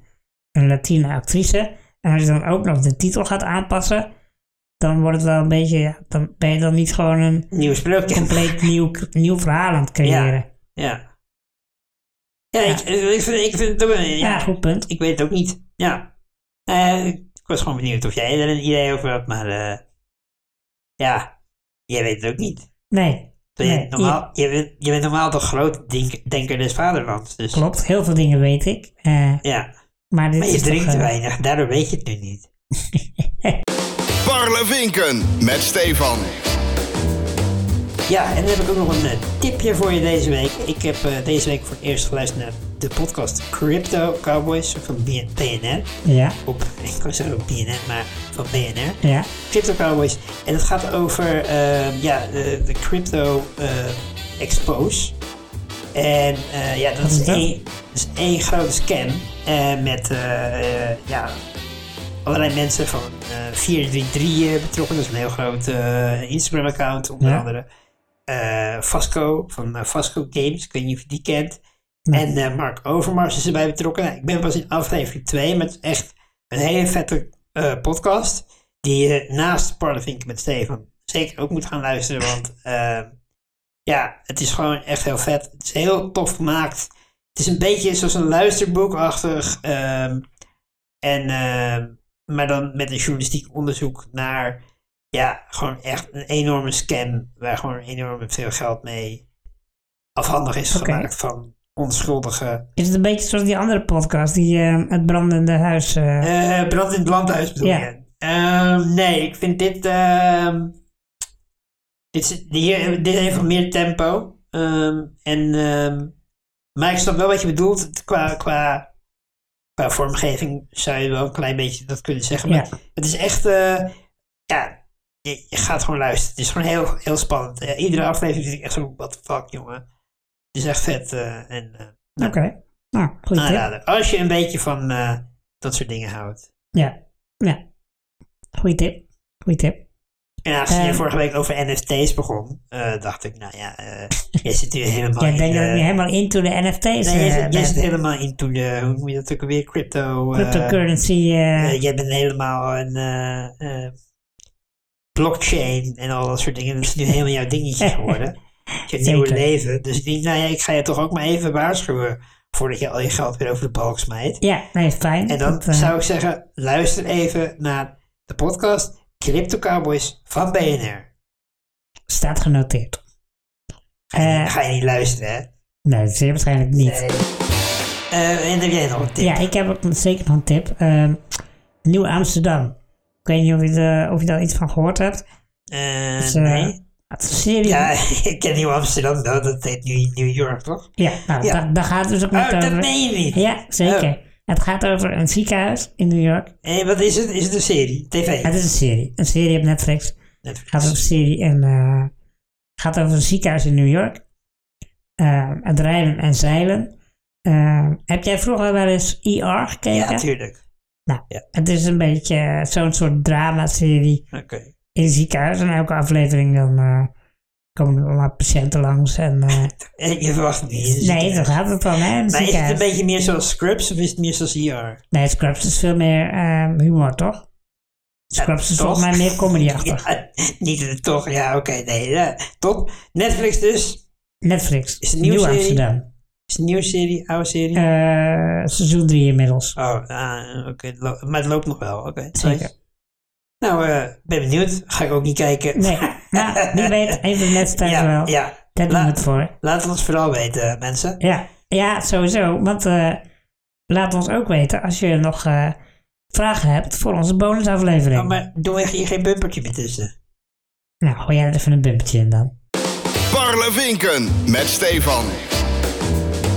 S2: een Latina actrice, en als je dan ook nog de titel gaat aanpassen, dan wordt het wel een beetje, ja, dan ben je dan niet gewoon een
S1: Nieuw sprookje.
S2: compleet nieuw, nieuw verhaal aan het creëren.
S1: Ja. Ja, Ik, ik, vind, ik vind het ook... een-
S2: Ja,
S1: Ja,
S2: goed punt.
S1: ik weet het ook niet. Ja. Eh, ik was gewoon benieuwd of jij er een idee over had, maar... eh, ja, jij weet het ook niet.
S2: Nee,
S1: Want
S2: Nee,
S1: je, normaal, je, bent, je bent normaal de groot denk- denker des vaderlands. Dus
S2: klopt. Heel veel dingen weet ik. eh,
S1: ja,
S2: maar dit
S1: maar je
S2: is toch,
S1: drinkt te
S2: eh,
S1: weinig, daardoor weet je het nu niet.
S4: Parlevinken met Stefan.
S1: Ja, en dan heb ik ook nog een eh, tipje voor je deze week. Ik heb eh, deze week voor het eerst geluisterd naar de podcast Crypto Cowboys van B- BNR.
S2: Ja,
S1: Op, ik kan zeggen op BNR, maar van BNR.
S2: ja,
S1: Crypto Cowboys. En het gaat over eh, ja, de, de Crypto eh, Expose. En eh, ja, dat
S2: is
S1: is,
S2: dat?
S1: één, dat is één grote scam. eh, met eh, eh, ja, allerlei mensen van eh 433 eh, betrokken. Dat is een heel groot eh, Instagram-account, onder
S2: Ja.
S1: andere. Eh, Vasco van eh, Vasco Games, ik weet niet of je die kent. En eh, Mark Overmars is erbij betrokken. Nou, ik ben pas in aflevering 2 met echt een hele vette eh, podcast. Die je naast Parlevink met Stefan zeker ook moet gaan luisteren. Want eh, ja, het is gewoon echt heel vet. Het is heel tof gemaakt. Het is een beetje zoals een luisterboekachtig. ehm en, ehm, maar dan met een journalistiek onderzoek naar ja, gewoon echt een enorme scam. Waar gewoon enorm veel geld mee afhandig is
S2: Oké.
S1: gemaakt van onschuldige.
S2: Is het een beetje zoals die andere podcast, die eh, het brandende huis... eh,
S1: Eh, brand in het landhuis bedoel
S2: Ja.
S1: je? Ehm, nee, ik vind dit. ehm, dit, is, hier, dit heeft wat meer tempo. Ehm, en, ehm, maar ik snap wel wat je bedoelt. Het- Qua, qua, qua vormgeving zou je wel een klein beetje dat kunnen zeggen. Maar
S2: Ja.
S1: het is echt. eh, ja, je, je gaat gewoon luisteren. Het is gewoon heel, heel spannend. Eh, iedere aflevering vind ik echt zo: what the fuck, jongen. Het is echt vet. eh, en, eh,
S2: Oké, nou, goed tip.
S1: aanrader. Als je een beetje van eh, dat soort dingen houdt.
S2: Ja, ja. Goeie tip. Goeie tip.
S1: En aangezien jij
S2: Ehm.
S1: vorige week over NFT's begon, eh, dacht ik, nou ja, eh jij zit hier helemaal
S2: Jij
S1: in
S2: denkt
S1: de-
S2: dat ik nu helemaal into de NFT's
S1: eh, Nee, jij
S2: eh,
S1: zit, jij
S2: ben.
S1: zit helemaal into de, hoe moet je dat ook weer, crypto. eh,
S2: Cryptocurrency. eh,
S1: eh, jij bent helemaal een eh, eh, blockchain en al dat soort dingen. Dat is nu helemaal jouw dingetje geworden. Je nieuwe
S2: Zeker.
S1: leven. Dus ik denk, nou ja, ik ga je toch ook maar even waarschuwen voordat je al je geld weer over de balk smijt.
S2: ja, nee, fijn.
S1: En dan
S2: Dat, eh,
S1: zou ik zeggen, luister even naar de podcast Crypto Cowboys van BNR.
S2: staat genoteerd.
S1: Ga je,
S2: Eh.
S1: ga je niet luisteren, hè?
S2: Nee, zeer waarschijnlijk niet.
S1: Nee. Eh, en heb jij nog een tip?
S2: Ja, ik heb ook zeker nog een tip. Ehm, Nieuw Amsterdam. Ik weet niet of je, de- of je daar iets van gehoord hebt.
S1: Eh,
S2: Dus, eh,
S1: nee.
S2: Het is een serie.
S1: Ja, ik ken Nieuw-Amsterdam wel, dat heet nu New York, toch?
S2: Ja, nou,
S1: Ja.
S2: Daar, daar gaat het dus ook
S1: Oh,
S2: net
S1: dat
S2: over.
S1: meen je niet.
S2: Ja, zeker.
S1: Oh.
S2: Het gaat over een ziekenhuis in New York.
S1: Hé, Eh, wat is het? Is het een serie? TV?
S2: Het is een serie. Een serie op Netflix.
S1: Netflix.
S2: gaat over een serie en eh, gaat over een ziekenhuis in New York. Eh, het rijden en zeilen. Eh, heb jij vroeger wel eens ER
S1: Ja,
S2: gekeken?
S1: natuurlijk.
S2: het is een beetje eh, zo'n soort drama-serie
S1: Oké.
S2: in ziekenhuis. En elke aflevering dan eh, komen er allemaal patiënten langs. En, eh,
S1: Eh, Je verwacht het niet. Dus
S2: nee,
S1: ik-
S2: daar gaat het dan, hè? Een
S1: Maar is het
S2: ziekenhuis.
S1: een beetje meer zoals Scrubs of is het meer zoals E ER?
S2: Nee, Scrubs is veel meer eh, humor, toch? Scrubs is
S1: toch?
S2: volgens mij meer comedy-achtig.
S1: Ja, niet eh, toch? Ja, oké, nee. ja, top. Netflix dus.
S2: Netflix,
S1: Is het een
S2: Nieuw
S1: nieuwe serie?
S2: Amsterdam.
S1: Is het een nieuwe serie, oude serie?
S2: Eh, seizoen 3 inmiddels.
S1: Oh, ah, oké. het lo- Maar het loopt nog wel. Oké, nice.
S2: Zeker.
S1: Nou, eh, ben benieuwd. Ga ik ook niet kijken.
S2: Nee, nou, wie weet, even net staan
S1: ja,
S2: wel.
S1: ja.
S2: Daar doen
S1: La-
S2: we het voor.
S1: Laat het ons vooral weten, mensen.
S2: Ja, ja sowieso. Want eh, laat ons ook weten als je nog eh, vragen hebt voor onze bonusaflevering.
S1: Oh, maar doen we hier geen bumpertje meer tussen?
S2: Nou, gooi jij er even een bumpertje in dan.
S4: Parlevinken met Stefan.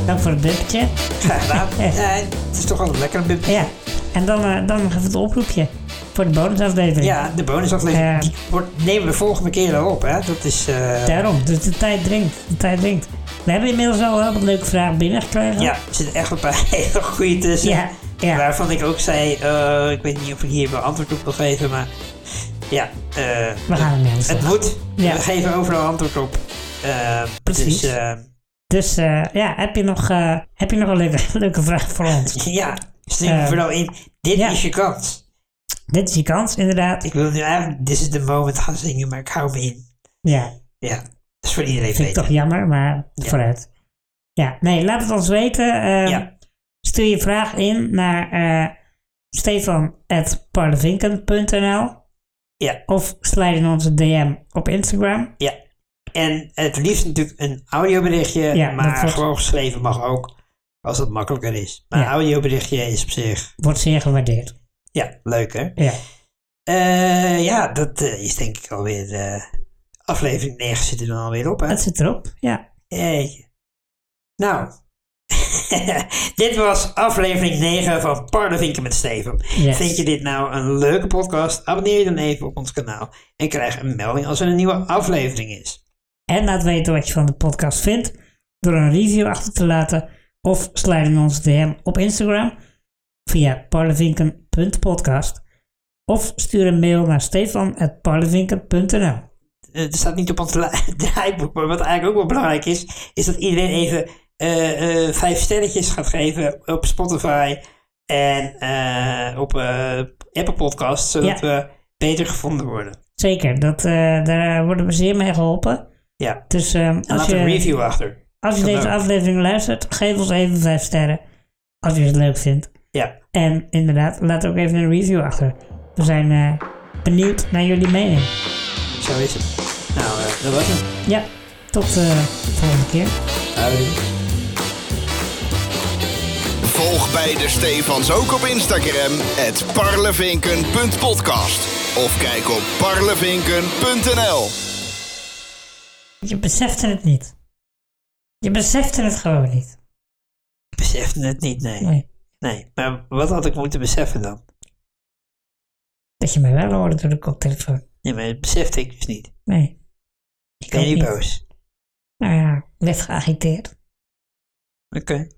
S2: Dank voor het bumpertje.
S1: Graag gedaan. ja, het is toch wel een lekker bumpertje.
S2: Ja, en dan, eh, dan nog even het oproepje voor de bonusaflevering.
S1: Ja, de bonusaflevering
S2: Ja.
S1: die wordt, nemen we de volgende keer al op, hè? Dat is... eh,
S2: Daarom, dus de tijd dringt. De tijd dringt. We hebben inmiddels al heel wat leuke vragen binnengekregen.
S1: ja, er zitten echt een paar hele goede tussen.
S2: Ja, ja.
S1: Waarvan ik ook zei, eh, ik weet niet of ik hier wel antwoord op wil geven, maar... Ja, eh,
S2: We gaan ermee aan
S1: het
S2: de slag.
S1: moet.
S2: Ja.
S1: We geven Eh, overal antwoord op. Eh,
S2: Precies.
S1: Dus, eh,
S2: Dus eh, ja, heb je nog, eh, heb je nog een leuke, leuke vraag voor ons?
S1: ja, steek er
S2: Eh,
S1: vooral in. Dit
S2: ja.
S1: is je kans.
S2: Dit is je kans, inderdaad.
S1: Ik wil nu eigenlijk This is the moment gaan zingen, maar ik hou me in.
S2: Ja,
S1: Ja, dat is voor iedereen
S2: vind ik
S1: beter.
S2: toch jammer, maar
S1: Ja.
S2: vooruit. Ja, nee, laat het ons weten. eh,
S1: Ja.
S2: Stuur je vraag in naar eh stefan.parlevinken.nl
S1: Ja.
S2: of slijt in onze DM op Instagram.
S1: Ja. En het liefst natuurlijk een audioberichtje,
S2: Ja, dat
S1: maar
S2: wordt-
S1: gewoon geschreven mag ook, als dat makkelijker is. Maar
S2: Ja.
S1: een audioberichtje is op zich,
S2: Wordt zeer gewaardeerd.
S1: ja, leuk hè?
S2: Ja,
S1: Eh, ja, dat eh, is denk ik alweer, eh aflevering 9 zit er dan alweer op hè?
S2: dat zit erop. Ja,
S1: Jeetje. Nou, dit was aflevering 9 van Parlevinken met Steven.
S2: Yes.
S1: Vind je dit nou een leuke podcast? Abonneer je dan even op ons kanaal en krijg een melding als er een nieuwe aflevering is.
S2: en laat weten wat je van de podcast vindt door een review achter te laten of slijt in onze DM op Instagram via parlevinken.podcast of stuur een mail naar stefan.parlevinken.nl
S1: Eh, Het staat niet op ons la- draaiboek, maar wat eigenlijk ook wel belangrijk is, is dat iedereen even eh, eh, vijf sterretjes gaat geven op Spotify en eh, op eh, Apple Podcasts, zodat
S2: Ja.
S1: we beter gevonden worden.
S2: Zeker, dat, eh, daar worden we zeer mee geholpen.
S1: Ja,
S2: Dus ehm,
S1: en
S2: als,
S1: laat een
S2: je,
S1: review achter.
S2: als je
S1: Kan
S2: deze
S1: ook.
S2: aflevering luistert, geef ons even 5 sterren. Als je het leuk vindt.
S1: Ja.
S2: En inderdaad, laat ook even een review achter. We zijn eh, benieuwd naar jullie mening.
S1: Zo is het. Nou, eh, dat was hem.
S2: Ja, tot eh, de volgende keer.
S4: Volg beide Stefans ook op Instagram. Het parlevinken.podcast. Of kijk op parlevinken.nl.
S2: Je besefte het niet. Je besefte het gewoon niet.
S1: Ik besefte het niet, nee.
S2: Nee,
S1: Nee, maar wat had ik moeten beseffen dan?
S2: dat je mij wel hoorde door de koptelefoon.
S1: Nee, maar dat besefte ik dus niet.
S2: Nee.
S1: Ik ben
S2: ook
S1: nu
S2: niet.
S1: boos.
S2: Nou ja, werd geagiteerd.
S1: Oké.